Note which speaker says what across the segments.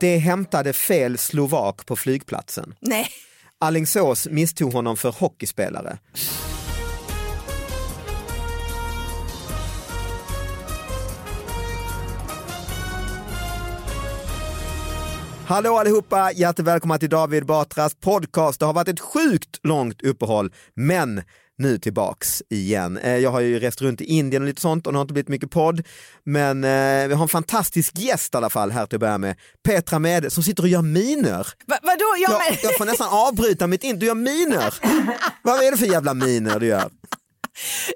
Speaker 1: Det hämtade fel slovak på flygplatsen.
Speaker 2: Nej.
Speaker 1: Alingsås misstog honom för hockeyspelare. Hallå allihopa! Hjärtligt välkomna till David Batras podcast. Det har varit ett sjukt långt uppehåll, men nu tillbaks igen. Eh, Jag har ju rest runt i Indien och lite sånt och det har inte blivit mycket podd. Men eh, vi har en fantastisk gäst i alla fall här till att börja med. Petra Mede som sitter och gör miner.
Speaker 2: Va, vadå?
Speaker 1: Jag,
Speaker 2: Ja, men,
Speaker 1: jag får nästan avbryta mitt in. Du gör miner. Vad är det för jävla miner du gör?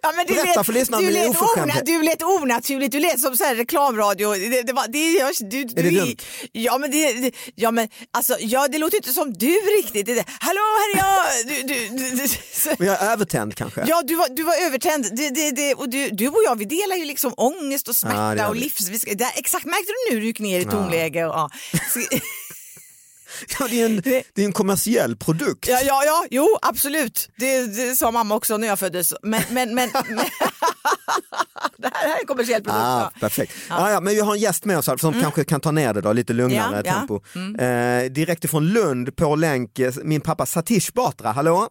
Speaker 2: ja, men du
Speaker 1: berätta
Speaker 2: lät-
Speaker 1: för lyssnarna
Speaker 2: du
Speaker 1: om det är
Speaker 2: lät
Speaker 1: oförskämt.
Speaker 2: ona- Du lät onaturligt, du lät som så här reklamradio. Det, det var, det, jag, du,
Speaker 1: Är
Speaker 2: du,
Speaker 1: det dumt?
Speaker 2: Ja men, det, det- ja, men alltså, ja, det låter inte som du riktigt. Det, det, Hallå, här är jag! Du, du, du, du, så,
Speaker 1: Men jag är övertänd kanske.
Speaker 2: ja, du var, du var övertänd. Det, det, det, och du, du och jag vi delar ju liksom ångest och
Speaker 1: Ja,
Speaker 2: smärta
Speaker 1: det gör
Speaker 2: och
Speaker 1: vi.
Speaker 2: livs... Vi ska, där, exakt, märkte du nu du gick ner i tonläge? Och, ja. Så-
Speaker 1: Ja, det, är en, det är en kommersiell produkt.
Speaker 2: Ja, ja, ja, jo, absolut. Det, det sa mamma också när jag föddes. Men, men, men, men. det här är en kommersiell produkt.
Speaker 1: Ah,
Speaker 2: ja. Mm.
Speaker 1: perfekt. Ah, ja, men vi har en gäst med oss här som kanske kan ta ner det då, lite lugnare
Speaker 2: Ja, Mm. ja.
Speaker 1: tempo. Eh, direkt ifrån Lund på länk, eh, min pappa Satish Batra, hallå?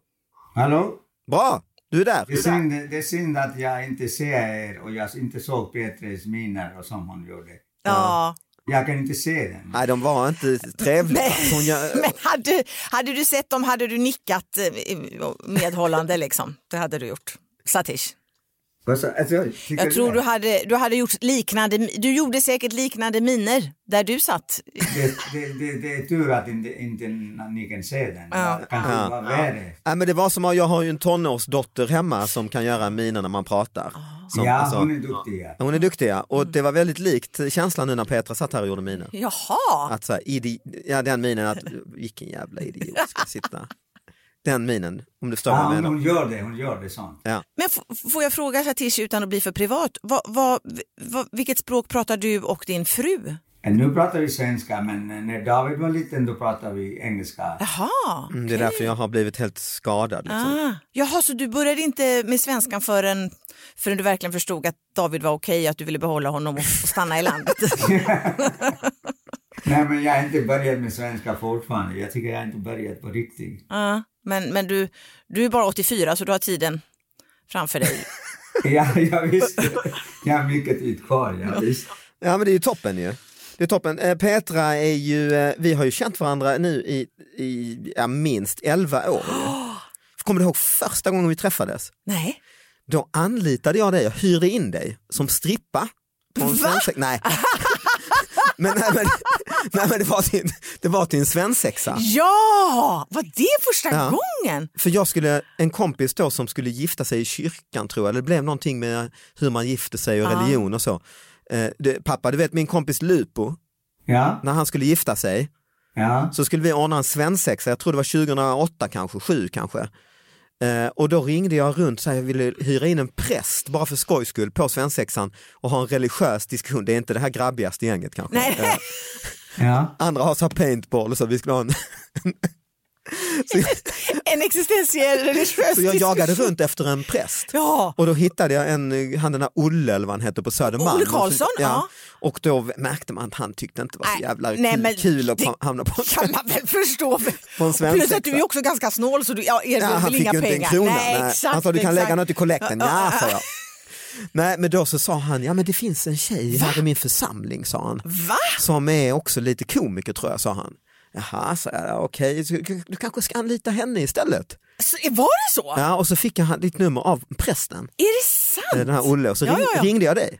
Speaker 3: Hallå?
Speaker 1: Bra, du är där.
Speaker 3: Det är, synd, det är synd att jag inte ser er och jag inte såg Petres miner och som hon gjorde.
Speaker 2: ja.
Speaker 3: Jag kan inte se den.
Speaker 1: Nej, de var inte trevliga. Alltså, Hon gör,
Speaker 2: Men hade, hade du sett dem hade du nickat eh, medhållande liksom. Det hade du gjort. Satish.
Speaker 3: Vad sa- Alltså, tycker
Speaker 2: Jag tror
Speaker 3: det?
Speaker 2: du hade, du hade gjort liknande, du gjorde säkert liknande miner där du satt.
Speaker 3: Det, det, det, det är tur att inte, inte ni kan se den.
Speaker 2: Ja.
Speaker 3: Det kanske var värre.
Speaker 1: Nej, men det var som att jag har ju en tonårsdotter hemma som kan göra miner när man pratar. Som,
Speaker 3: Ja,
Speaker 1: alltså-
Speaker 3: hon är duktig. Ja.
Speaker 1: hon är duktig ja. och det var väldigt likt känslan nu när Petra satt här och gjorde miner.
Speaker 2: Jaha,
Speaker 1: Att så här, idi- ja, den minen att vilken jävla idiot ska sitta. Den minen, om du förstår vad
Speaker 3: Ja,
Speaker 1: jag
Speaker 3: hon,
Speaker 1: menar.
Speaker 3: hon gör det, hon gör det sånt.
Speaker 1: Ja.
Speaker 2: men f- får jag fråga Satish utan att bli för privat, vad, vad, vad, vilket språk pratar du och din fru?
Speaker 3: Nu pratar vi svenska, men när David var liten då pratade vi engelska.
Speaker 2: Jaha.
Speaker 1: Mm, Det är därför jag har blivit helt skadad. Liksom.
Speaker 2: Ah, jaha, så du började inte med svenskan förrän, förrän du verkligen förstod att David var okej, att du ville behålla honom och och stanna i landet?
Speaker 3: Nej, men jag har inte börjat med svenska fortfarande. Jag tycker jag har inte börjat på riktigt.
Speaker 2: Ah, men men du, du är bara 84 så du har tiden framför dig.
Speaker 3: Ja, jag visste. Jag har mycket tid kvar, jag visste.
Speaker 1: Ja men det är ju toppen ju. Det är toppen. Eh, Petra är ju, eh, vi har ju känt varandra nu i, i ja, minst 11 år. ju. Kommer du ihåg första gången vi träffades?
Speaker 2: Nej,
Speaker 1: Då anlitade jag dig, jag hyrde in dig som strippa. På en svensex- nej. men, nej, men, nej men det var till, det var till en svensexa.
Speaker 2: ja, var det första
Speaker 1: Ja.
Speaker 2: gången?
Speaker 1: För jag skulle, en kompis då som skulle gifta sig i kyrkan tror jag, eller det blev någonting med hur man gifte sig och
Speaker 2: Ja.
Speaker 1: religion och så. Eh, det, pappa, du vet min kompis Lupo,
Speaker 3: Ja,
Speaker 1: när han skulle gifta sig
Speaker 3: ja.
Speaker 1: så skulle vi ordna en svensexa, jag tror det var 2008 kanske, 7 kanske. Eh, och då ringde jag runt så här, jag ville hyra in en präst bara för skojs skull på svensexan och ha en religiös diskussion. Det är inte det här grabbigaste gänget kanske.
Speaker 2: Nej.
Speaker 1: Eh,
Speaker 3: ja.
Speaker 1: andra har så här paintball och så, vi skulle ha en...
Speaker 2: En existentiell religiös
Speaker 1: så jag jagade
Speaker 2: diskussion.
Speaker 1: runt efter en präst.
Speaker 2: Ja,
Speaker 1: Och då hittade jag en, han den där Olle eller vad han hette på Södermalm.
Speaker 2: Olle Karlsson, ja.
Speaker 1: Och då märkte man att han tyckte inte det var så
Speaker 2: Nej,
Speaker 1: jävla
Speaker 2: nej,
Speaker 1: kul,
Speaker 2: men
Speaker 1: kul att
Speaker 2: det-
Speaker 1: hamna på en
Speaker 2: kan man väl förstå.
Speaker 1: På en svensexa.
Speaker 2: Plus att du är också ganska snål så du ja, erbjuder
Speaker 1: Ja, han
Speaker 2: väl
Speaker 1: fick
Speaker 2: Alltså, inga
Speaker 1: ju
Speaker 2: pengar.
Speaker 1: inte en krona.
Speaker 2: Nej,
Speaker 1: nej.
Speaker 2: exakt,
Speaker 1: han sa du kan lägga
Speaker 2: exakt.
Speaker 1: något i kollekten.
Speaker 2: Ja,
Speaker 1: Ja,
Speaker 2: ja,
Speaker 1: sa jag. Nej, men då så sa han, ja men det finns en tjej här i min församling, sa han.
Speaker 2: Va?
Speaker 1: Som är också lite komiker tror jag, sa han. Jaha, sa jag, okej, så du- du kanske ska anlita henne istället.
Speaker 2: Så, var det så?
Speaker 1: Ja, och så fick jag han- ditt nummer av prästen, eh,
Speaker 2: Är det sant?
Speaker 1: den här Olle, och så
Speaker 2: Ja,
Speaker 1: ring,
Speaker 2: ja, ja.
Speaker 1: ringde jag dig.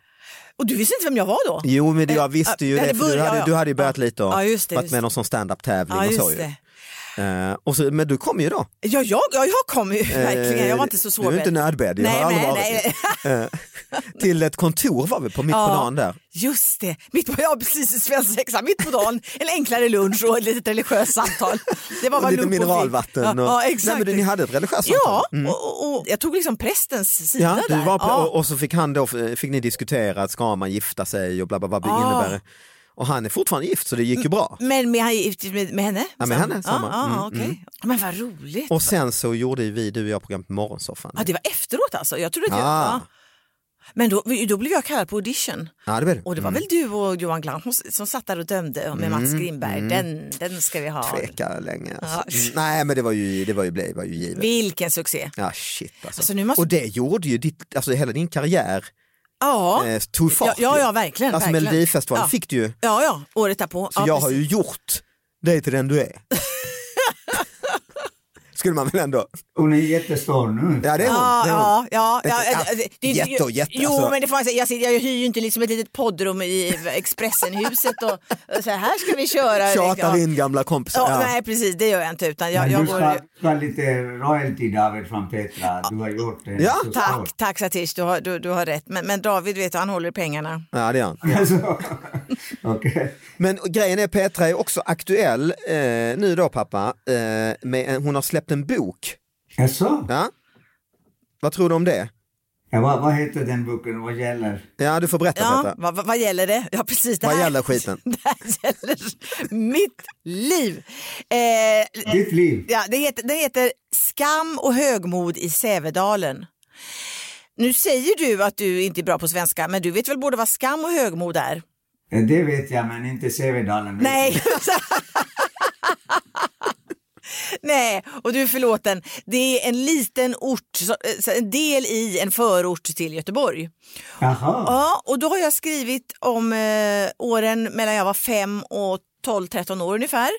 Speaker 2: Och du visste inte vem jag var då?
Speaker 1: Jo, men du, jag visste ju
Speaker 2: ja,
Speaker 1: det,
Speaker 2: det
Speaker 1: för du
Speaker 2: börjar,
Speaker 1: hade,
Speaker 2: ja.
Speaker 1: du hade ju börjat
Speaker 2: Ja.
Speaker 1: lite och
Speaker 2: Ja, just det,
Speaker 1: varit
Speaker 2: just
Speaker 1: med någon sån standup-tävling
Speaker 2: Ja,
Speaker 1: och så
Speaker 2: just
Speaker 1: ju.
Speaker 2: det.
Speaker 1: Eh, och så, men du kom ju då.
Speaker 2: Ja, jag, ja, jag kom ju verkligen. Jag var inte så
Speaker 1: Eh, Du är
Speaker 2: sårbar.
Speaker 1: inte nödbedd, jag
Speaker 2: Nej,
Speaker 1: har aldrig
Speaker 2: nej,
Speaker 1: varit
Speaker 2: nej.
Speaker 1: det. Till ett kontor var vi på mitt på dagen där.
Speaker 2: Just det, mitt på, ja, precis, svensexa, mitt på dagen, en enklare lunch och ett litet religiöst samtal. Det var
Speaker 1: Och
Speaker 2: vad
Speaker 1: lite
Speaker 2: Lupo fick.
Speaker 1: mineralvatten.
Speaker 2: Ja,
Speaker 1: Och...
Speaker 2: ja,
Speaker 1: Nej,
Speaker 2: exakt.
Speaker 1: men du, ni hade ett religiöst
Speaker 2: ja,
Speaker 1: samtal. Mm.
Speaker 2: och, och, och jag tog liksom prästens sida
Speaker 1: Ja, du
Speaker 2: där.
Speaker 1: var på,
Speaker 2: ja.
Speaker 1: och, och så fick, han då, fick ni diskutera, att ska man gifta sig och bla bla bla, vad det
Speaker 2: Ja. Mm.
Speaker 1: innebär det? Och han är fortfarande gift så det gick ju bra.
Speaker 2: Men med, med, med, med henne?
Speaker 1: Ja, med henne, samma.
Speaker 2: Ja,
Speaker 1: Mm,
Speaker 2: ja, okej. Men vad roligt.
Speaker 1: Och sen så gjorde ju vi, du och jag, program på Morgonsoffan.
Speaker 2: Ja, det var efteråt alltså? Jag trodde att jag...
Speaker 1: Ah.
Speaker 2: Ja. Men då, då blev jag kallad på audition.
Speaker 1: Ja, det mm, blir det.
Speaker 2: Och det var väl du och Johan Glans som satt där och dömde med Mats
Speaker 1: Mm,
Speaker 2: Grimberg. Den, den ska vi ha.
Speaker 1: Tveka länge. Alltså.
Speaker 2: Ja.
Speaker 1: Mm, Nej, men det var ju, det var ju, det var ju givet.
Speaker 2: Vilken succé.
Speaker 1: Ja, shit alltså.
Speaker 2: Alltså, nu måste-
Speaker 1: Och det gjorde ju ditt, alltså, hela din karriär
Speaker 2: Ja,
Speaker 1: eh, tog
Speaker 2: ja,
Speaker 1: fart.
Speaker 2: ja,
Speaker 1: ju.
Speaker 2: ja verkligen.
Speaker 1: Alltså
Speaker 2: verkligen.
Speaker 1: Melodifestivalen
Speaker 2: ja.
Speaker 1: fick du ju, så
Speaker 2: Ja, ja, året därpå. Ja,
Speaker 1: jag har
Speaker 2: precis.
Speaker 1: ju gjort dig till den du är. Skulle man väl ändå?
Speaker 3: Hon är jättestor nu.
Speaker 1: Ja, det är hon.
Speaker 2: Ja,
Speaker 1: det är hon.
Speaker 2: ja, ja, ja,
Speaker 1: Ett-
Speaker 2: ja, det- det-
Speaker 1: jätte och jätte,
Speaker 2: Jo,
Speaker 1: alltså.
Speaker 2: men det får man säga. Jag, sitter, jag hyr ju inte liksom ett litet poddrum i Expressenhuset och, och så här ska vi köra.
Speaker 1: Tjatar
Speaker 2: ja.
Speaker 1: in gamla kompisar.
Speaker 2: Ja,
Speaker 1: Ja.
Speaker 2: Nej, precis, det gör jag inte. Utan jag,
Speaker 3: Men
Speaker 2: jag
Speaker 3: du
Speaker 2: går...
Speaker 3: ska, ska lite royalty David från Petra. Du har gjort det.
Speaker 1: Ja,
Speaker 3: så
Speaker 2: Tack, tack Satish, du har, du, du har rätt. Men, men David vet du, han håller i pengarna.
Speaker 1: Ja, det är han.
Speaker 3: Alltså, Okej.
Speaker 1: Men grejen är Petra är också aktuell eh, nu då pappa. Eh, med en, hon har släppt en bok.
Speaker 3: Jaså?
Speaker 1: Ja? Vad tror du om det?
Speaker 3: Ja, vad, vad heter den boken? Vad gäller?
Speaker 1: Ja, du får berätta
Speaker 2: Ja,
Speaker 1: Petra.
Speaker 2: vad, vad, vad gäller det? Ja, precis. Det
Speaker 1: Vad
Speaker 2: här,
Speaker 1: gäller skiten?
Speaker 2: Det här gäller mitt liv. Eh,
Speaker 3: Ditt liv.
Speaker 2: Ja, det heter, det heter Skam och högmod i Sävedalen. Nu säger du att du inte är bra på svenska, men du vet väl både vad skam och högmod är?
Speaker 3: Ja, Det vet jag, men inte Sävedalen.
Speaker 2: Nej. Nej, och du är förlåten. Det är en liten ort, så- så en del i en förort till Göteborg.
Speaker 3: Jaha.
Speaker 2: Ja, och då har jag skrivit om eh, åren mellan jag var 5 och 12-13 år ungefär.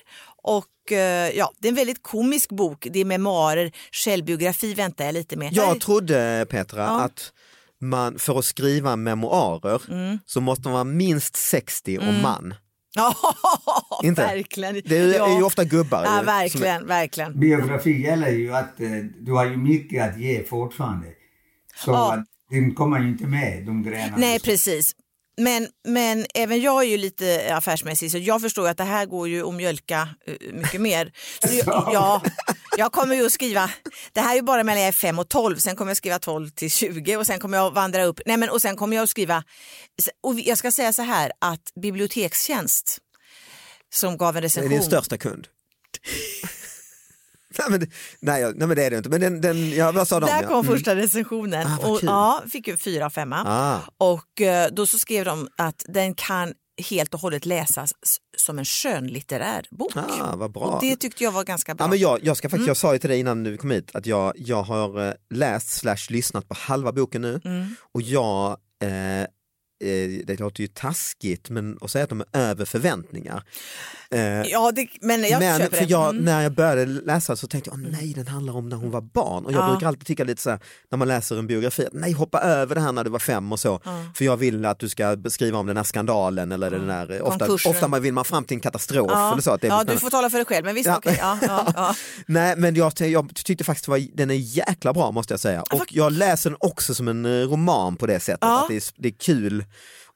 Speaker 2: Och eh, ja, det är en väldigt komisk bok. Det är memoarer, självbiografi väntar jag lite med. Här-
Speaker 1: Jag trodde Petra
Speaker 2: Ja.
Speaker 1: att man för att skriva memoarer
Speaker 2: Mm.
Speaker 1: så måste man vara minst 60 och man.
Speaker 2: Ja,
Speaker 1: Inte?
Speaker 2: verkligen.
Speaker 1: Det är ju,
Speaker 2: ja.
Speaker 1: är ju ofta gubbar. ju,
Speaker 2: Ja,
Speaker 1: som-
Speaker 2: verkligen, verkligen.
Speaker 3: Biografi gäller ju att eh, du har ju mycket att ge fortfarande. Så
Speaker 2: Ja.
Speaker 3: att den kommer ju inte med, de grejerna.
Speaker 2: Nej, precis. Men, men även jag är ju lite affärsmässig så jag förstår ju att det här går ju att mjölka eh, mycket mer. Så jag, ja, jag kommer ju att skriva, det här är ju bara mellan jag är 5 och 12, sen kommer jag skriva 12 till 20 och sen kommer jag att vandra upp, nej men och sen kommer jag att skriva, och jag ska säga så här att Bibliotekstjänst som gav en
Speaker 1: Det är
Speaker 2: recension.
Speaker 1: din största kund. nej, men, det- nej, jag- nej men det är det inte. Men den, den, ja, vad sa de?
Speaker 2: Där
Speaker 1: ja.
Speaker 2: kom
Speaker 1: Mm.
Speaker 2: första recensionen.
Speaker 1: Ah, vad
Speaker 2: och,
Speaker 1: kul.
Speaker 2: ja, fick ju fyra av femma.
Speaker 1: Ah.
Speaker 2: Och eh, då så skrev de att den kan helt och hållet läsas s- som en skönlitterär bok.
Speaker 1: Ah, vad bra.
Speaker 2: Och det Mm. tyckte jag var ganska bra.
Speaker 1: Ja, men jag, jag, ska faktiskt, jag sa ju till dig innan du kom hit att jag, jag har eh, läst slash lyssnat på halva boken nu
Speaker 2: Mm.
Speaker 1: och jag, eh, eh, det låter ju taskigt men att säga att de är över förväntningar. Eh,
Speaker 2: Ja, det, men jag
Speaker 1: men
Speaker 2: köper
Speaker 1: för
Speaker 2: det.
Speaker 1: jag,
Speaker 2: Mm.
Speaker 1: när jag började läsa så tänkte jag, "Åh, nej den handlar om när hon var barn och jag
Speaker 2: Ja.
Speaker 1: brukar alltid tycka lite så här, när man läser en biografi, att nej hoppa över det här när du var fem och så, för jag vill att du ska beskriva om den här skandalen eller den där, ofta,
Speaker 2: Konkursen.
Speaker 1: ofta man vill man fram till en katastrof
Speaker 2: ja.
Speaker 1: eller så. Att det är
Speaker 2: ja,
Speaker 1: spännande.
Speaker 2: du får tala för dig själv, men visst,
Speaker 1: Ja.
Speaker 2: okej. Ja, ja, ja.
Speaker 1: Nej men jag, ty- jag tyckte faktiskt att den är jäkla bra måste jag säga. Och jag läser den också som en eh, roman på det sättet.
Speaker 2: Ja.
Speaker 1: Att det, är, det är kul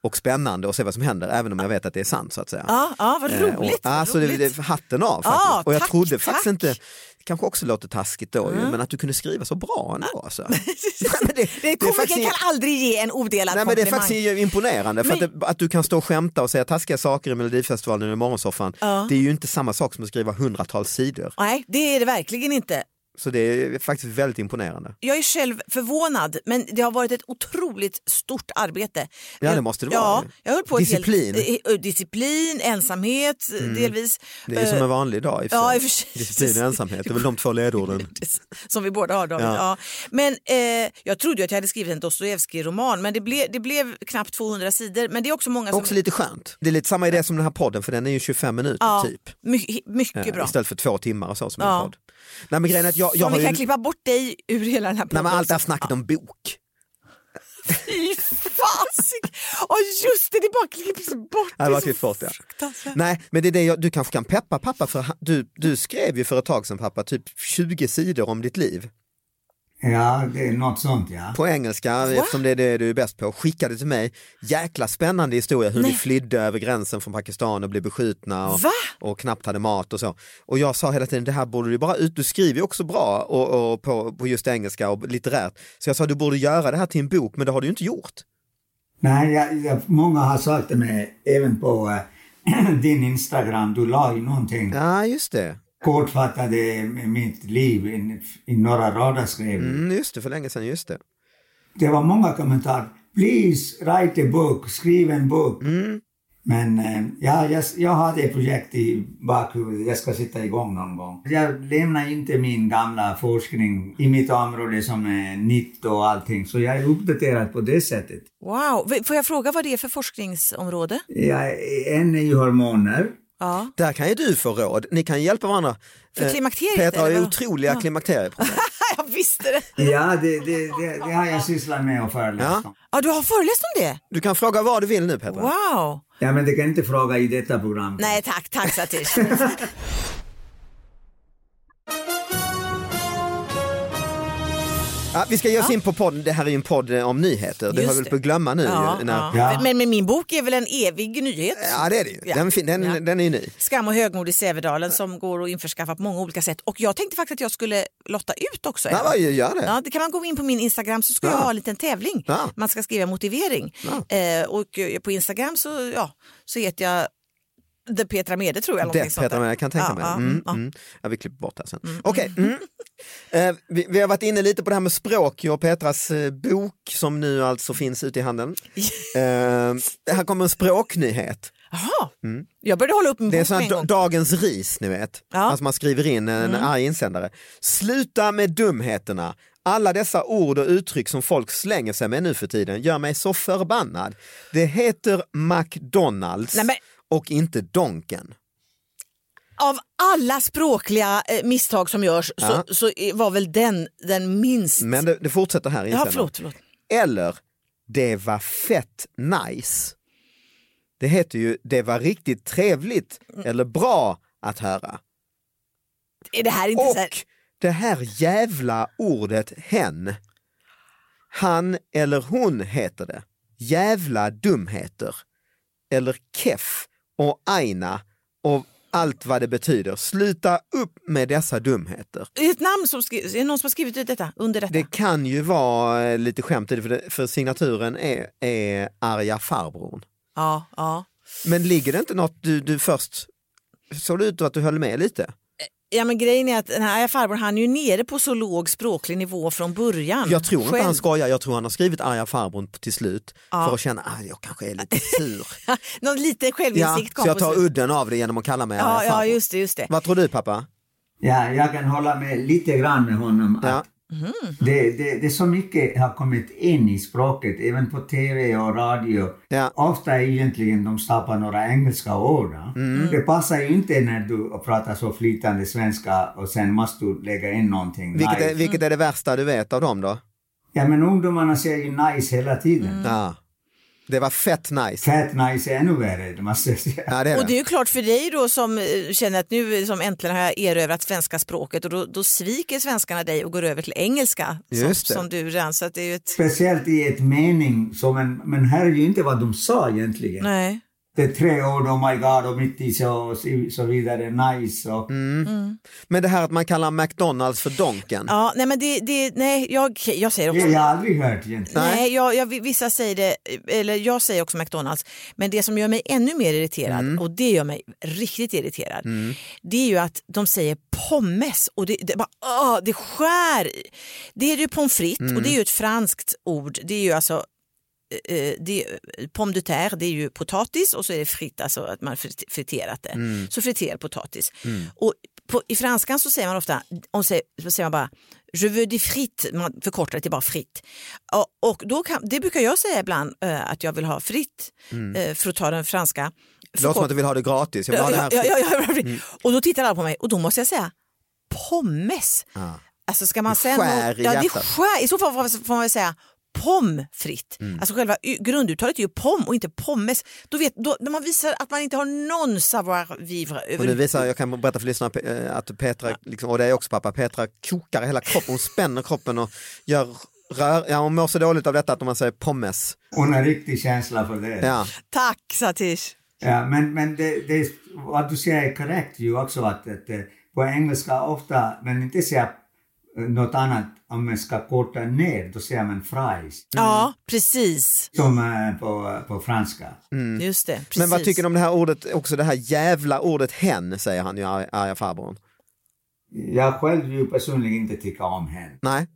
Speaker 1: och spännande att se vad som händer även om jag vet att det är sant så att säga.
Speaker 2: ja, ja vad
Speaker 1: Eh,
Speaker 2: roligt.
Speaker 1: och,
Speaker 2: vad
Speaker 1: alltså, det,
Speaker 2: roligt.
Speaker 1: det, hatten av
Speaker 2: Ja,
Speaker 1: faktiskt. och jag
Speaker 2: tack,
Speaker 1: trodde
Speaker 2: tack. Mm.
Speaker 1: faktiskt inte, det kanske också låter taskigt då, ju, men att du kunde skriva så bra ändå. Alltså. Nej, men det, det är
Speaker 2: Komikern
Speaker 1: faktiskt
Speaker 2: kan
Speaker 1: ingen-
Speaker 2: aldrig ge en odelad
Speaker 1: Nej, men det är
Speaker 2: komplimang.
Speaker 1: faktiskt imponerande, för
Speaker 2: Men-
Speaker 1: att, det, att du kan stå och skämta och säga taskiga saker i Melodifestivalen och i Morgonsoffan,
Speaker 2: Ja.
Speaker 1: det är ju inte samma sak som att skriva hundratals sidor.
Speaker 2: Nej, det är det verkligen inte.
Speaker 1: Så det är faktiskt väldigt imponerande.
Speaker 2: Jag är själv förvånad, men det har varit ett otroligt stort arbete. Eh,
Speaker 1: Ja, det måste det vara.
Speaker 2: Ja, jag höll på ett
Speaker 1: Disciplin. Mm.
Speaker 2: Helt, eh, eh, disciplin, ensamhet eh, delvis.
Speaker 1: Det är som
Speaker 2: Eh,
Speaker 1: en vanlig dag i och för
Speaker 2: ja,
Speaker 1: sig.
Speaker 2: i och för sig.
Speaker 1: Disciplin och ensamhet, det är väl de två ledorden.
Speaker 2: som vi båda har David.
Speaker 1: Ja.
Speaker 2: Ja. Men eh, jag trodde ju att jag hade skrivit en Dostojevskij-roman men det, ble, det blev knappt 200 sidor. Men det är också många som...
Speaker 1: Också lite skönt. Det är lite samma idé som den här podden för den är ju 25 minuter typ.
Speaker 2: My, mycket
Speaker 1: Eh,
Speaker 2: bra.
Speaker 1: Istället för två timmar och så som
Speaker 2: Ja.
Speaker 1: en podd. Nej men grejen är att jag, jag
Speaker 2: Som
Speaker 1: har
Speaker 2: vi
Speaker 1: ju...
Speaker 2: kan klippa bort dig ur hela den här
Speaker 1: Nej
Speaker 2: podden.
Speaker 1: men allt det här snacket om bok.
Speaker 2: Fy fasik! Och just det, det bara klipps bort.
Speaker 1: Ja, det bara
Speaker 2: är så
Speaker 1: klipps bort, ja.
Speaker 2: fruktansvärt.
Speaker 1: Nej men det är det jag, du kanske kan peppa pappa för han- du, du skrev ju för ett tag sedan pappa typ 20 sidor om ditt liv.
Speaker 3: Ja, det är något sånt ja.
Speaker 1: på engelska eftersom det är det du är bäst på, skickade till mig. Jäkla spännande historia hur ni flydde över gränsen från Pakistan och blev beskjutna och,
Speaker 2: Va?
Speaker 1: och knappt hade mat och så. Och jag sa hela tiden, det här borde du bara ut, du skriver ju också bra och, och på, på just engelska och litterärt. Så jag sa, du borde göra det här till en bok, men det har du ju inte gjort.
Speaker 3: Nej, jag, jag, många har sagt till mig, även på eh, din Instagram, du la ju någonting
Speaker 1: Ja, just det.
Speaker 3: kortfattade mitt liv i, i några rader skrev du.
Speaker 2: Mm.
Speaker 1: Mm, just det, för länge sedan, just det.
Speaker 3: Det var många kommentarer. please write a book, skriv en bok. Men eh, ja, jag, jag har det projekt i bakhuvudet, jag ska sätta igång någon gång. Jag lämnar inte min gamla forskning i mitt område som är nytt och allting, så jag är uppdaterad på det sättet.
Speaker 2: Wow, V- får jag fråga vad det är för forskningsområde?
Speaker 3: Jag, en är ju hormoner.
Speaker 2: Ja.
Speaker 1: Där kan ju du få råd. Ni kan hjälpa varandra.
Speaker 2: För
Speaker 1: Eh,
Speaker 2: klimakteriet,
Speaker 1: Petra har ju
Speaker 2: eller vad?
Speaker 1: otroliga klimakterieproblem.
Speaker 2: jag visste det.
Speaker 3: Ja, det, det, det, det har jag sysslat med och föreläst
Speaker 1: Ja.
Speaker 3: om.
Speaker 2: Ja, du har föreläst om det?
Speaker 1: Du kan fråga vad du vill nu Petra.
Speaker 2: Wow.
Speaker 3: Ja, men det kan inte fråga i detta program.
Speaker 2: Nej tack, tack Satish.
Speaker 1: Ja, vi ska ge oss in på podden, det här är ju en podd eh, om nyheter. Det
Speaker 2: Just
Speaker 1: har vi väl
Speaker 2: det.
Speaker 1: på att glömma nu.
Speaker 2: ja,
Speaker 1: ju, när...
Speaker 2: ja.
Speaker 1: ja.
Speaker 3: Ja.
Speaker 2: Men, men min bok är väl en evig nyhet?
Speaker 1: det är det ju.
Speaker 2: Ja.
Speaker 1: Den, fin- den,
Speaker 2: Ja.
Speaker 1: den är ju ny.
Speaker 2: Skam och högmod i Sävedalen som går att införskaffa på många olika sätt. Och jag tänkte faktiskt att jag skulle lotta ut också.
Speaker 1: Ja,
Speaker 2: en.
Speaker 1: vad gör det.
Speaker 2: Ja, det kan man gå in på min Instagram så ska
Speaker 1: Ja.
Speaker 2: jag ha en liten tävling.
Speaker 1: Ja.
Speaker 2: Man ska skriva motivering. Eh, och eh, på Instagram så, ja, så heter jag The Petra Mede tror jag.
Speaker 1: Det
Speaker 2: någonting sånt
Speaker 1: Petra,
Speaker 2: där.
Speaker 1: men jag kan tänka
Speaker 2: Ja,
Speaker 1: mig.
Speaker 2: ja,
Speaker 1: Mm,
Speaker 2: ja.
Speaker 1: mm. Ja, vi klipper bort det här sen. Okej, mm. Eh, vi, vi har varit inne lite på det här med språk. Jag och Petras eh, bok som nu alltså finns ute i handeln. Eh, här kommer en språknyhet.
Speaker 2: Jaha, jag började hålla upp min
Speaker 1: Mm. Det är
Speaker 2: bok
Speaker 1: sån här
Speaker 2: med en
Speaker 1: da-
Speaker 2: gång.
Speaker 1: dagens ris, ni vet.
Speaker 2: Ja. Mm.
Speaker 1: Alltså man skriver in en arg insändare. Sluta med dumheterna. Alla dessa ord och uttryck som folk slänger sig med nu för tiden gör mig så förbannad. Det heter McDonalds
Speaker 2: Nej, men-
Speaker 1: och inte Donken.
Speaker 2: Av alla språkliga eh, misstag som görs
Speaker 1: Ja.
Speaker 2: så, så eh, var väl den den minst...
Speaker 1: Men det, det fortsätter här i
Speaker 2: ja,
Speaker 1: insändaren.
Speaker 2: förlåt, förlåt.
Speaker 1: Eller det var fett nice. Det heter ju det var riktigt trevligt
Speaker 2: Mm.
Speaker 1: eller bra att höra.
Speaker 2: Är det här inte så här...
Speaker 1: Och det här jävla ordet hen. Han eller hon heter det. Jävla dumheter. Eller keff och aina och allt vad det betyder. Sluta upp med dessa dumheter.
Speaker 2: Är det ett namn som skri... är det någon som har skrivit ut detta? Under detta?
Speaker 1: Det kan ju vara eh, lite skämt i det, för, det, för signaturen är, är arga farbrorn.
Speaker 2: Ja, ja.
Speaker 1: Men ligger det inte något du, du först, såg det ut att du höll med lite?
Speaker 2: Ja men grejen är att den här farbrorn han är ju nere på så låg språklig nivå från början.
Speaker 1: Jag tror inte
Speaker 2: Själv.
Speaker 1: han skojar, jag tror han har skrivit arga farbrorn till slut
Speaker 2: Ja.
Speaker 1: för att känna att ah, jag kanske är lite sur.
Speaker 2: Någon liten
Speaker 1: ja,
Speaker 2: självinsikt kom
Speaker 1: så jag
Speaker 2: på
Speaker 1: tar
Speaker 2: slutet.
Speaker 1: udden av det genom att kalla mig
Speaker 2: Ja,
Speaker 1: arga
Speaker 2: ja
Speaker 1: farbrorn.
Speaker 2: just det, just det.
Speaker 1: Vad tror du pappa?
Speaker 3: Ja, jag kan hålla med lite grann med honom.
Speaker 1: Ja.
Speaker 3: Att det, det, det är så mycket har kommit in i språket, även på TV och radio.
Speaker 1: Ja.
Speaker 3: Ofta är egentligen de stappar några engelska ord. ja.
Speaker 1: Mm.
Speaker 3: Det passar ju inte när du pratar så flytande svenska och sen måste du lägga in någonting.
Speaker 1: Vilket,
Speaker 3: nice.
Speaker 2: Mm.
Speaker 1: är, vilket är det värsta du vet av dem då?
Speaker 3: Ja, men ungdomarna säger ju nice hela tiden.
Speaker 1: Ja. Det var fett nice.
Speaker 3: Fett nice är ännu värre, det måste jag säga.
Speaker 1: Ja, det är
Speaker 2: Och det är
Speaker 1: det.
Speaker 2: ju klart för dig då som eh, känner att nu som äntligen har jag erövrat svenska språket och då, då sviker svenskarna dig och går över till engelska som,
Speaker 1: Just det.
Speaker 2: som du redan så att det är ju ett...
Speaker 3: Speciellt i ett mening, som en, men här är ju inte vad de sa egentligen.
Speaker 1: Mm.
Speaker 2: Nej.
Speaker 3: det är tre ord, oh my god, och mitt i så, så vidare, nice och...
Speaker 1: Men det här att man kallar McDonalds för Donken.
Speaker 2: Ja, nej men det, det nej jag, jag säger
Speaker 3: Det
Speaker 2: också
Speaker 3: har jag aldrig hört egentligen.
Speaker 1: Nej.
Speaker 2: Nej, jag, jag, vissa säger det, eller jag säger också McDonalds, men det som gör mig ännu mer irriterad, och det gör mig riktigt irriterad, det är ju att de säger pommes och det, det, bara, åh, det skär. i. Det är ju pommes frites och det är ju ett franskt ord, det är ju alltså eh, det, pomme de terre det är ju potatis och så är det fritt, alltså att man frit- friterat det.
Speaker 1: Mm.
Speaker 2: Så friterad potatis. Och på, I franskan så säger man ofta, och säger, så säger man bara je veux des frites, man förkortar det till bara fritt. Och, och då kan, det brukar jag säga ibland eh, att jag vill ha fritt, eh, för att ta den franska.
Speaker 1: Det låter Mm. som att du vill ha det gratis. Jag vill ha det här Mm.
Speaker 2: Ja, ja, ja, ja, Och då tittar alla på mig och då måste jag säga pommes.
Speaker 1: Ja.
Speaker 2: Alltså ska man
Speaker 1: Det
Speaker 2: sen...
Speaker 1: skär i
Speaker 2: ja, det
Speaker 1: hjärtat.
Speaker 2: skär. I så fall får man- får man väl säga pomfritt.
Speaker 1: Mm.
Speaker 2: Alltså själva y- grunduttalet är ju pom och inte pommes. Då vet, då, när man visar att man inte har någon savoir vivre
Speaker 1: Och nu
Speaker 2: över...
Speaker 1: visar, jag kan berätta för lyssnarna eh, att Petra, liksom, och det är också pappa, Petra kokar hela kroppen, hon spänner kroppen och gör rör, ja, hon mår så dåligt av detta att om man säger pommes.
Speaker 3: Hon har riktig känsla för det.
Speaker 1: Ja.
Speaker 2: Tack Satish.
Speaker 3: Ja, men men det, det, vad du säger är korrekt ju också att, att eh, på engelska ofta, men inte säga eh, något annat om man ska korta ner, då säger man fries.
Speaker 1: Mm.
Speaker 2: Ja, precis.
Speaker 3: Som eh, på, på franska.
Speaker 2: Mm. Just det. Precis.
Speaker 1: Mm. Men vad tycker du om det här ordet, också det här jävla ordet hen, säger han ju, ar- arga farbrorn.
Speaker 3: Jag själv ju personligen inte tycker om hen.
Speaker 1: Nej,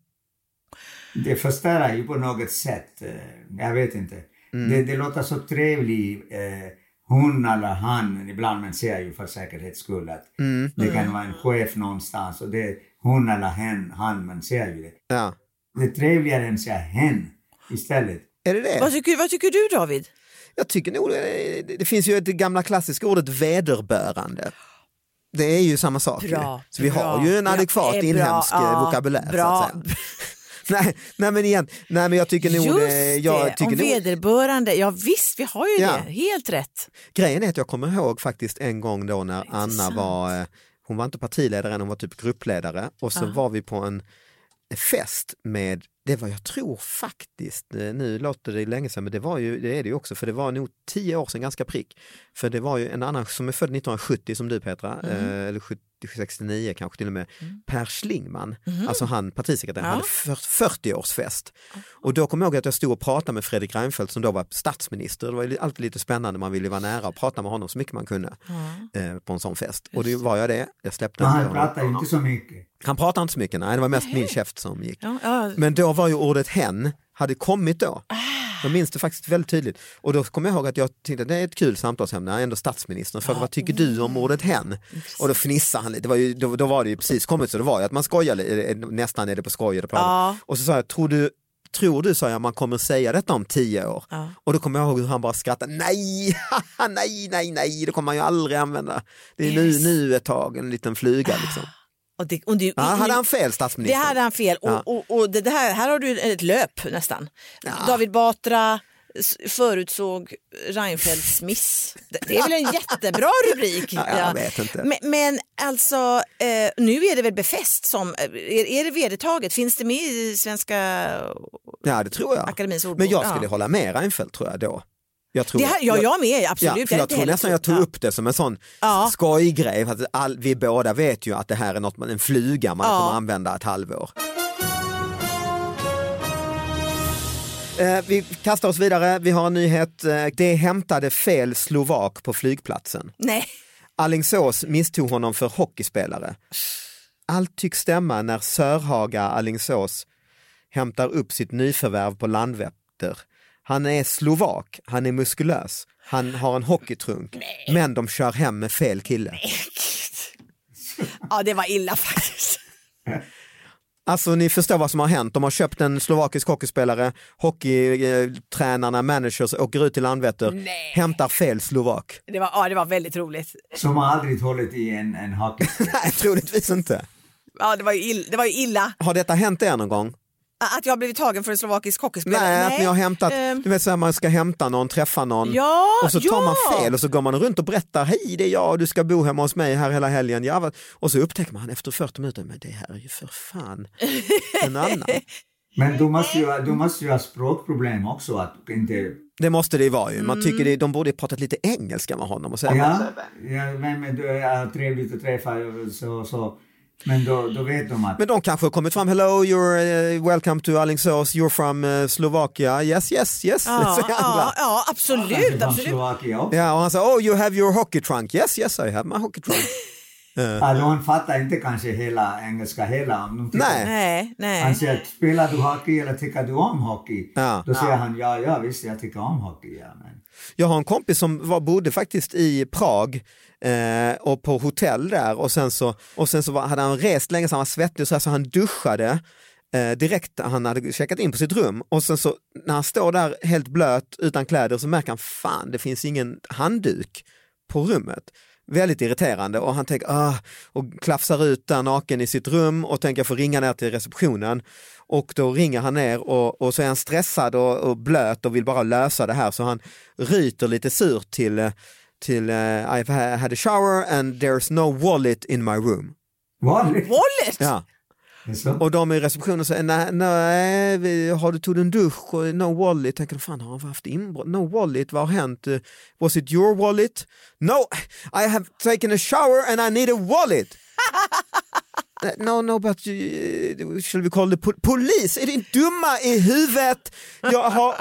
Speaker 3: det förstör ju på något sätt. eh, Jag vet inte.
Speaker 1: Mm.
Speaker 3: Det, det låter så trevligt. Eh, hon eller han, ibland man säger ju för säkerhets skull att
Speaker 1: Mm.
Speaker 3: det kan vara en chef någonstans och det är hon eller hen, han, man säger ju det.
Speaker 1: Ja.
Speaker 3: Det är trevligare än att säga hen istället.
Speaker 1: Är det det?
Speaker 2: Vad tycker, vad tycker du David?
Speaker 1: Jag tycker nog eh, det, det finns ju det gamla klassiska ordet vederbörande. Det är ju samma sak. ju.
Speaker 2: Bra,
Speaker 1: så vi har
Speaker 2: bra.
Speaker 1: ju en
Speaker 2: Ja,
Speaker 1: adekvat
Speaker 2: det är bra,
Speaker 1: inhemsk eh,
Speaker 2: ja,
Speaker 1: vokabulär. Så
Speaker 2: bra.
Speaker 1: att säga. nej, nej men igen, nej men jag tycker nog
Speaker 2: Just
Speaker 1: det, jag
Speaker 2: det,
Speaker 1: tycker
Speaker 2: om
Speaker 1: nog,
Speaker 2: vederbörande. Ja visst, vi har ju
Speaker 1: Ja.
Speaker 2: det. Helt rätt.
Speaker 1: Grejen är att jag kommer ihåg faktiskt en gång då när Anna
Speaker 2: Intressant.
Speaker 1: var, eh, hon var inte partiledare än, hon var typ gruppledare och så
Speaker 2: Ah.
Speaker 1: var vi på en fest med, det var jag tror faktiskt, eh, nu låter det länge sedan men det var ju, det är det ju också, för det var nog tio år sedan ganska prick. För det var ju en annan som är född 1970 som du Petra, eh, eller 70, 69 kanske till och med, Per Schlingman, alltså han partisekreteraren,
Speaker 2: Ja.
Speaker 1: hade fyrt- 40-årsfest. Och då kommer jag ihåg att jag stod och pratade med Fredrik Reinfeldt som då var statsminister. Det var ju alltid lite spännande, man ville ju vara nära och prata med honom så mycket man kunde eh, på en sån fest. Och det var jag det, jag släppte
Speaker 3: Men
Speaker 1: inte
Speaker 3: han
Speaker 1: honom.
Speaker 3: pratar ju inte så mycket.
Speaker 1: Han pratade inte så mycket, nej det var mest min käft som gick.
Speaker 2: Ja, ja.
Speaker 1: Men då var ju ordet hen, hade kommit då.
Speaker 2: Ah.
Speaker 1: Jag minns det faktiskt väldigt tydligt. Och då kommer jag ihåg att jag tänkte det är ett kul samtalsämne, jag är ändå statsministern. Frågade vad tycker du om ordet hen? Och då fnissade han lite, det var ju, då, då var det ju precis kommit så det var ju att man skojar li- eh, nästan är det på skoj eller på
Speaker 2: Ja.
Speaker 1: Och så sa jag, tror du Tror du, sa jag, man kommer säga detta om tio år?
Speaker 2: Ja.
Speaker 1: Och då kommer jag ihåg hur han bara skrattade, nej, haha, nej, nej, nej, det kommer man ju aldrig använda. Det är nu,
Speaker 2: Yes.
Speaker 1: nu ett tag, en liten fluga liksom.
Speaker 2: Och det, och det,
Speaker 1: Ja, hade han fel
Speaker 2: Ah. det
Speaker 1: statsministern?
Speaker 2: hade han fel. Och,
Speaker 1: Ja.
Speaker 2: och, och det, det här, här har du ett löp nästan. David Batra s- förutsåg Reinfeldts miss. Det, det är väl en jättebra rubrik?
Speaker 1: Ja, jag vet inte.
Speaker 2: Men, men alltså, eh, nu är det väl befäst som, eh, är, är det vedertaget? Finns det med i Svenska
Speaker 1: Ja det tror jag.
Speaker 2: Akademins ordbok,
Speaker 1: Men jag
Speaker 2: ja.
Speaker 1: skulle hålla med Reinfeldt tror jag då. Jag tror,
Speaker 2: Det här, ja, jag med,
Speaker 1: Ja,
Speaker 2: absolut.
Speaker 1: för
Speaker 2: Det är
Speaker 1: jag
Speaker 2: inte
Speaker 1: tror
Speaker 2: heller
Speaker 1: nästan
Speaker 2: så-
Speaker 1: jag tog
Speaker 2: ja.
Speaker 1: upp det som en sån
Speaker 2: Ja.
Speaker 1: skojgrej. För att all, vi båda vet ju att det här är något, man- en fluga man
Speaker 2: Ja.
Speaker 1: kommer använda ett halvår. Eh, vi kastar oss vidare, vi har en nyhet. Eh, det hämtade fel slovak på flygplatsen.
Speaker 2: Nej.
Speaker 1: Alingsås misstog honom för hockeyspelare. Allt tycks stämma när Sörhaga Alingsås hämtar upp sitt nyförvärv på Landvetter. Han är slovak, han är muskulös, han har en hockeytrunk, men de kör hem med fel kille.
Speaker 2: Ja, det var illa faktiskt.
Speaker 1: Alltså ni förstår vad som har hänt, de har köpt en slovakisk hockeyspelare, hockeytränarna, managers åker ut till Landvetter,
Speaker 2: Nej.
Speaker 1: hämtar fel slovak.
Speaker 2: Det var, ja, det var väldigt roligt.
Speaker 3: Som har aldrig hållit i en, en hockey.
Speaker 1: Nej, troligtvis inte.
Speaker 2: Ja, det var ju, ill, det var ju illa.
Speaker 1: Har detta hänt er någon gång?
Speaker 2: Att jag har blivit tagen för en slovakisk hockeyspelare.
Speaker 1: Nej, att ni har hämtat,
Speaker 2: Ehm,
Speaker 1: du vet så här, man ska hämta någon, träffa någon
Speaker 2: Ja,
Speaker 1: och så tar
Speaker 2: ja.
Speaker 1: man fel och så går man runt och berättar, hej det är jag, du ska bo hemma hos mig här hela helgen. Ja, vad- och så upptäcker man efter 40 minuter, men det här är ju för fan en annan.
Speaker 3: Men du måste, ju, ha- du måste ju ha språkproblem också. Att inte,
Speaker 1: Det måste det ju vara ju, man
Speaker 2: Mm.
Speaker 1: tycker det, de borde pratat lite engelska med honom och säga,
Speaker 3: ja, ja, vem är du? Ja, trevligt att träffa. Så, så. Men då, då vet de att
Speaker 1: men de kanske har kommit fram, hello, you're eh, welcome to Alingsås, you're from eh, Slovakia, yes, yes, yes,
Speaker 2: ja,
Speaker 1: säger
Speaker 2: ja,
Speaker 1: andra.
Speaker 2: ja, absolut.
Speaker 3: från
Speaker 2: absolut.
Speaker 3: Slovakien också.
Speaker 1: Ja, och han sa, oh you have your hockey trunk, yes, yes I have my hockey trunk.
Speaker 3: Ja, de fattar inte kanske hela engelska hela. Om de tycker-
Speaker 1: Nej.
Speaker 2: Nej,
Speaker 3: Han
Speaker 2: nej.
Speaker 1: Alltså,
Speaker 3: säger, spelar du hockey eller tycker du om hockey?
Speaker 1: Ja.
Speaker 3: Då säger han, ja, ja visst jag tycker om hockey. Ja, men.
Speaker 1: Jag har en kompis som var, bodde faktiskt i Prag eh, och på hotell där och sen så, och sen så var, hade han rest länge så han var svettig och så, här, så han duschade eh, direkt när han hade checkat in på sitt rum och sen så när han står där helt blöt utan kläder så märker han fan det finns ingen handduk på rummet. Väldigt irriterande och han tänker ah, och klafsar ut där naken i sitt rum och tänker jag får ringa ner till receptionen. Och då ringer han ner och, och så är han stressad och, och blöt och vill bara lösa det här så han ryter lite surt till, eh, till eh, I've ha- had a shower and there's no wallet in my room.
Speaker 3: Vanligt.
Speaker 2: Wallet!
Speaker 1: Ja.
Speaker 3: Så.
Speaker 1: Och de i receptionen säger nej, nej vi- har du tog du en dusch och no wallet? Tänker de fan har han haft inbrott? No wallet, vad har hänt? Eh, Was it your wallet? No, I have taken a shower and I need a wallet. Eh, No, no, but you, shall we call the po- police? Är din dumma i huvudet? Jag har...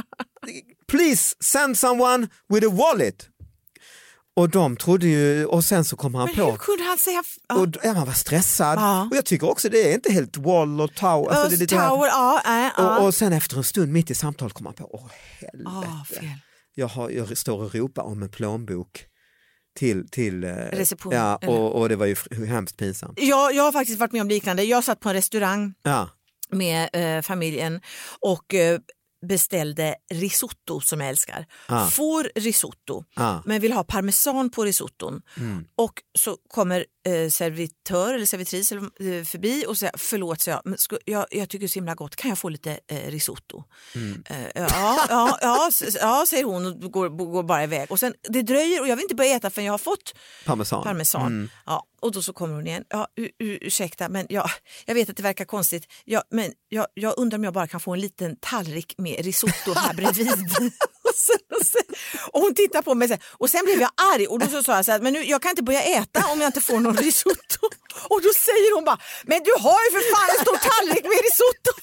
Speaker 1: Please send someone with a wallet. Och de trodde ju, och sen så kom han
Speaker 2: Men hur
Speaker 1: på.
Speaker 2: kunde han säga... f- Ja.
Speaker 1: Och alltså, ja, man var stressad.
Speaker 2: Ja.
Speaker 1: Och jag tycker också det är inte helt wall och tower. Alltså, det är lite
Speaker 2: Tower, ja. Äh, ja.
Speaker 1: Och, och sen efter en stund mitt i samtalet kom han på, åh helvete.
Speaker 2: Ah, fel.
Speaker 1: jag, har, jag står och ropar om en plånbok till, till eh,
Speaker 2: Reception,
Speaker 1: Ja,
Speaker 2: eller?
Speaker 1: och, och det var ju fr- hemskt pinsamt.
Speaker 2: Jag, jag har faktiskt varit med om liknande. Jag satt på en restaurang
Speaker 1: Ja.
Speaker 2: med eh, familjen och eh, beställde risotto som jag älskar.
Speaker 1: Ah.
Speaker 2: Får risotto
Speaker 1: Ah.
Speaker 2: men vill ha parmesan på risotton. Och så kommer eh, servitör eller servitris eller, eh, förbi och säger förlåt, så jag, men sku, jag, jag tycker det är så himla gott, kan jag få lite eh, risotto? Eh, ja, ja, ja, s- s- ja, säger hon och går, går bara iväg. Och sen, det dröjer och jag vill inte börja äta förrän jag har fått
Speaker 1: Parmesan.
Speaker 2: parmesan. Ja, och då så kommer hon igen. Ja, u- u- ursäkta, men jag, jag vet att det verkar konstigt. Ja, men jag, jag undrar om jag bara kan få en liten tallrik med risotto här bredvid. och, sen, och, sen, och hon tittar på mig så här, och sen blev jag arg och då så sa jag så här, men nu, jag kan inte börja äta om jag inte får någon risotto. Och då säger hon bara, men du har ju för fan en stor tallrik med risotto.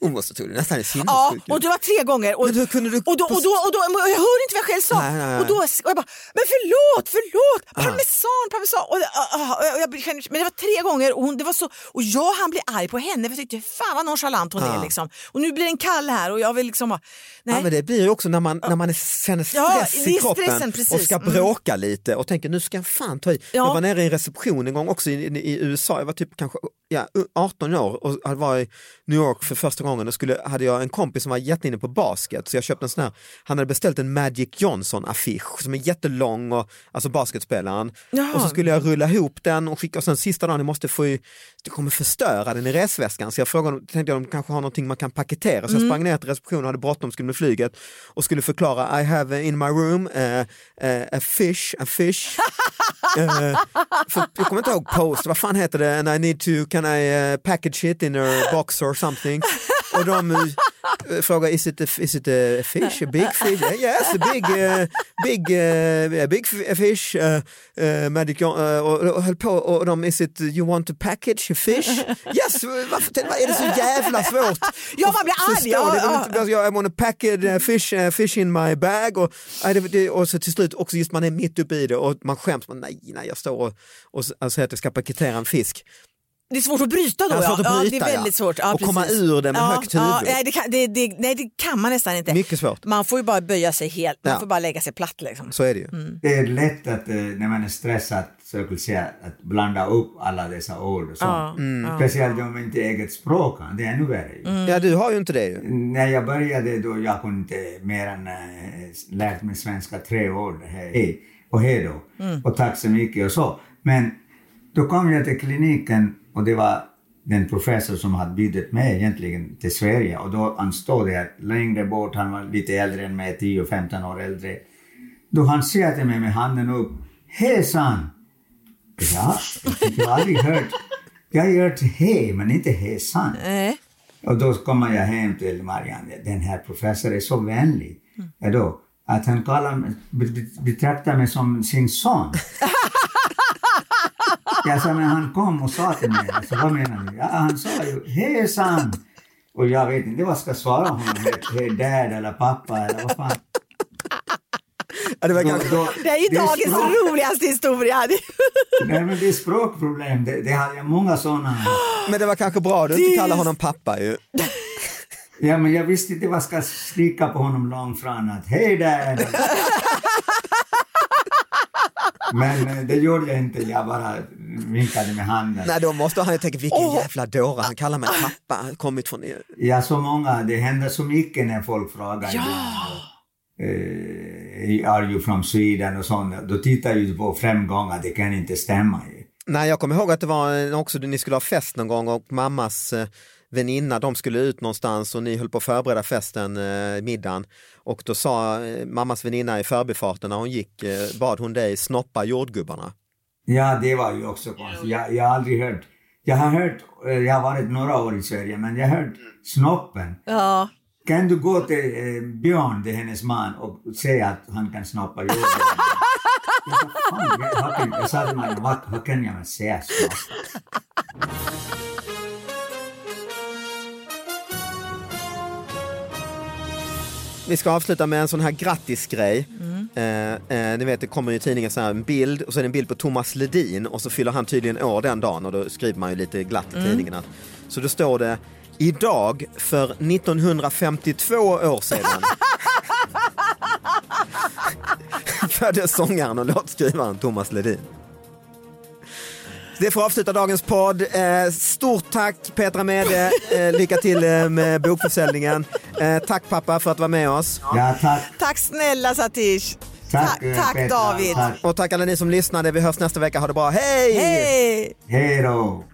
Speaker 1: Hon måste tro det nästan är
Speaker 2: Ja,
Speaker 1: sinnessjuk.
Speaker 2: och det var tre gånger. Och,
Speaker 1: Men hur kunde du-
Speaker 2: och, då, och, då, och, då, och jag hörde inte vad jag själv sa.
Speaker 1: Nej, nej, Ah. nej.
Speaker 2: Och då och jag bara, men förlåt, förlåt, parmesan, parmesan. Och, ah, ah, och, jag, kände- men det var tre gånger och, hon, det var så, och jag han bli arg på henne för jag tyckte fan vad nonchalant hon är.
Speaker 1: Ja.
Speaker 2: Liksom. Och nu blir den kall här och jag vill liksom bara, nej.
Speaker 1: Ah. Ja, men det blir ju också när man, när man är, känner
Speaker 2: Ja,
Speaker 1: stress
Speaker 2: det
Speaker 1: i
Speaker 2: är
Speaker 1: kroppen
Speaker 2: stressen, precis.
Speaker 1: och ska
Speaker 2: Mm.
Speaker 1: bråka lite och tänker nu ska jag fan ta i.
Speaker 2: Ja.
Speaker 1: Jag var nere i en reception en gång också i, i, i USA, jag var typ kanske ja, 18 år och jag var i New York för första gången och skulle, hade jag en kompis som var jätteinne på basket så jag köpte en sån här, han hade beställt en Magic Johnson-affisch som är jättelång, och, alltså basketspelaren.
Speaker 2: Jaha.
Speaker 1: Och så skulle jag rulla ihop den och skicka och sen sista dagen, jag måste få ju, det kommer förstöra den i resväskan. Så jag frågade, om- tänkte jag de kanske har någonting man kan paketera. Så jag sprang ner till receptionen och hade bråttom, skulle med flyget och skulle förklara I have eh, in my room eh, eh, a fish, a fish. Eh, för, jag kommer inte ihåg post, vad fan heter det, and I need to, can I eh, package it in a box or something. Och de eh, frågar, is it, a, is it a fish, a big fish? Yeah, yes, a big, eh, big, eh, a big f- fish, eh, eh, Magic John, eh, och, och höll på och de, is it, you want to package a fish? Yes, varför vad är det så jävla svårt?
Speaker 2: Ja, man blir
Speaker 1: Och
Speaker 2: arg,
Speaker 1: förstå,
Speaker 2: ja,
Speaker 1: det var
Speaker 2: ja.
Speaker 1: inte- Alltså, jag, I want a packed eh, fish, eh, fish in my bag och, nej, det- det- och så till slut också just man är mitt uppe i det och man skäms, man, nej, nej jag står och, och, s- och säger att jag ska paketera en fisk.
Speaker 2: Det är svårt att bryta då.
Speaker 1: Ja, svårt att
Speaker 2: ja,
Speaker 1: bryta,
Speaker 2: det är väldigt
Speaker 1: ja.
Speaker 2: svårt. Ja,
Speaker 1: Och
Speaker 2: precis.
Speaker 1: komma ur det med
Speaker 2: ja,
Speaker 1: högt
Speaker 2: Ja,
Speaker 1: huvud.
Speaker 2: nej, det kan, det, det, nej, det kan man nästan inte.
Speaker 1: Mycket svårt,
Speaker 2: Man får ju bara böja sig helt, man
Speaker 1: Ja.
Speaker 2: får bara lägga sig platt liksom.
Speaker 1: så är det ju.
Speaker 3: Det är lätt att eh, när man är stressad, så jag vill säga, att blanda upp alla dessa ord och sånt.
Speaker 1: Mm.
Speaker 3: Speciellt om man inte äger ett språk, det är ännu värre. ju.
Speaker 1: Ja du har ju inte det ju.
Speaker 3: När jag började då, jag kunde inte mer än äh, lärt mig svenska tre år. Hej hej och hej då. Och tack så mycket och så. Men då kom jag till kliniken och det var den professor som hade bjudit mig egentligen till Sverige. Och då han stod där längre bort, han var lite äldre än mig, 10-15 år äldre. Då han ser till mig med handen upp. Hejsan! Ja, jag har aldrig hört. Jag har hört hej, men inte hejsan.
Speaker 2: Nej.
Speaker 3: Och då kommer jag hem till Marianne. Den här professorn är så vänlig. Ja då, att han kallar, mig- be- be- betraktar mig som sin son. jag sa, men han kom och sa till mig, alltså, vad menar du? Ja, han sa ju, hejsan! Och jag vet inte vad jag ska svara honom. Hej hey, dad eller pappa eller vad fan.
Speaker 1: Ja, det var
Speaker 3: Då-
Speaker 1: ganska...
Speaker 3: då-
Speaker 2: Det är ju dagens
Speaker 3: språk-
Speaker 2: roligaste historia. Det,
Speaker 3: Nej men det är språkproblem. Det, det har jag många sådana.
Speaker 1: Men det var kanske bra du
Speaker 2: Det är-
Speaker 1: inte kallar honom pappa ju.
Speaker 3: Ja men jag visste inte vad jag ska skrika på honom långt från att hej där! men eh, det gjorde jag inte, jag bara vinkade med handen.
Speaker 1: Nej då måste han ju tänka vilken
Speaker 2: Åh.
Speaker 1: jävla dåre, han kallar mig pappa, han har kommit från EU.
Speaker 3: Ja, så många, det händer så mycket när folk frågar. Ja! Uh, are you from Sweden och sånt. Då tittar jag ju på framgångar, det kan inte stämma ju.
Speaker 1: Nej, jag kommer ihåg att det var en- också, ni skulle ha fest någon gång och mammas eh, väninna, de skulle ut någonstans och ni höll på att förbereda festen, eh, middagen. Och då sa eh, mammas väninna i förbifarten när hon gick, eh, bad hon dig snoppa jordgubbarna.
Speaker 3: Ja, det var ju också konstigt. Jag, jag har aldrig hört. Jag har hört, eh, jag har varit några år i Sverige, men jag har hört snoppen.
Speaker 2: ja.
Speaker 3: Kan du gå till eh, Björn, det är hennes man, och säga att han kan snappa jorden? Jag sa, "Fan, jag- vad kan- Jag sa till mig, vad vad kan jag säga snappa?
Speaker 1: Vi ska avsluta med en sån här grattisgrej. Eh, eh, ni vet, det kommer ju i tidningen så här, en bild och så är det en bild på Thomas Ledin och så fyller han tydligen år den dagen och då skriver man ju lite glatt i tidningen att Så då står det Idag för 1952 år sedan föddes sångaren och låtskrivaren Thomas Ledin. Det får avsluta dagens podd. Eh, Stort tack Petra Mede, Eh, lycka till eh, med bokförsäljningen. Eh, Tack pappa för att du var med oss.
Speaker 3: Ja, tack.
Speaker 2: Tack snälla Satish.
Speaker 3: Tack,
Speaker 2: Ta-
Speaker 3: eh,
Speaker 2: tack,
Speaker 3: Petra.
Speaker 2: David.
Speaker 3: Tack.
Speaker 1: Och tack alla ni som lyssnade. Vi hörs nästa vecka. Ha det bra. Hej!
Speaker 2: Hej!
Speaker 3: Hej då.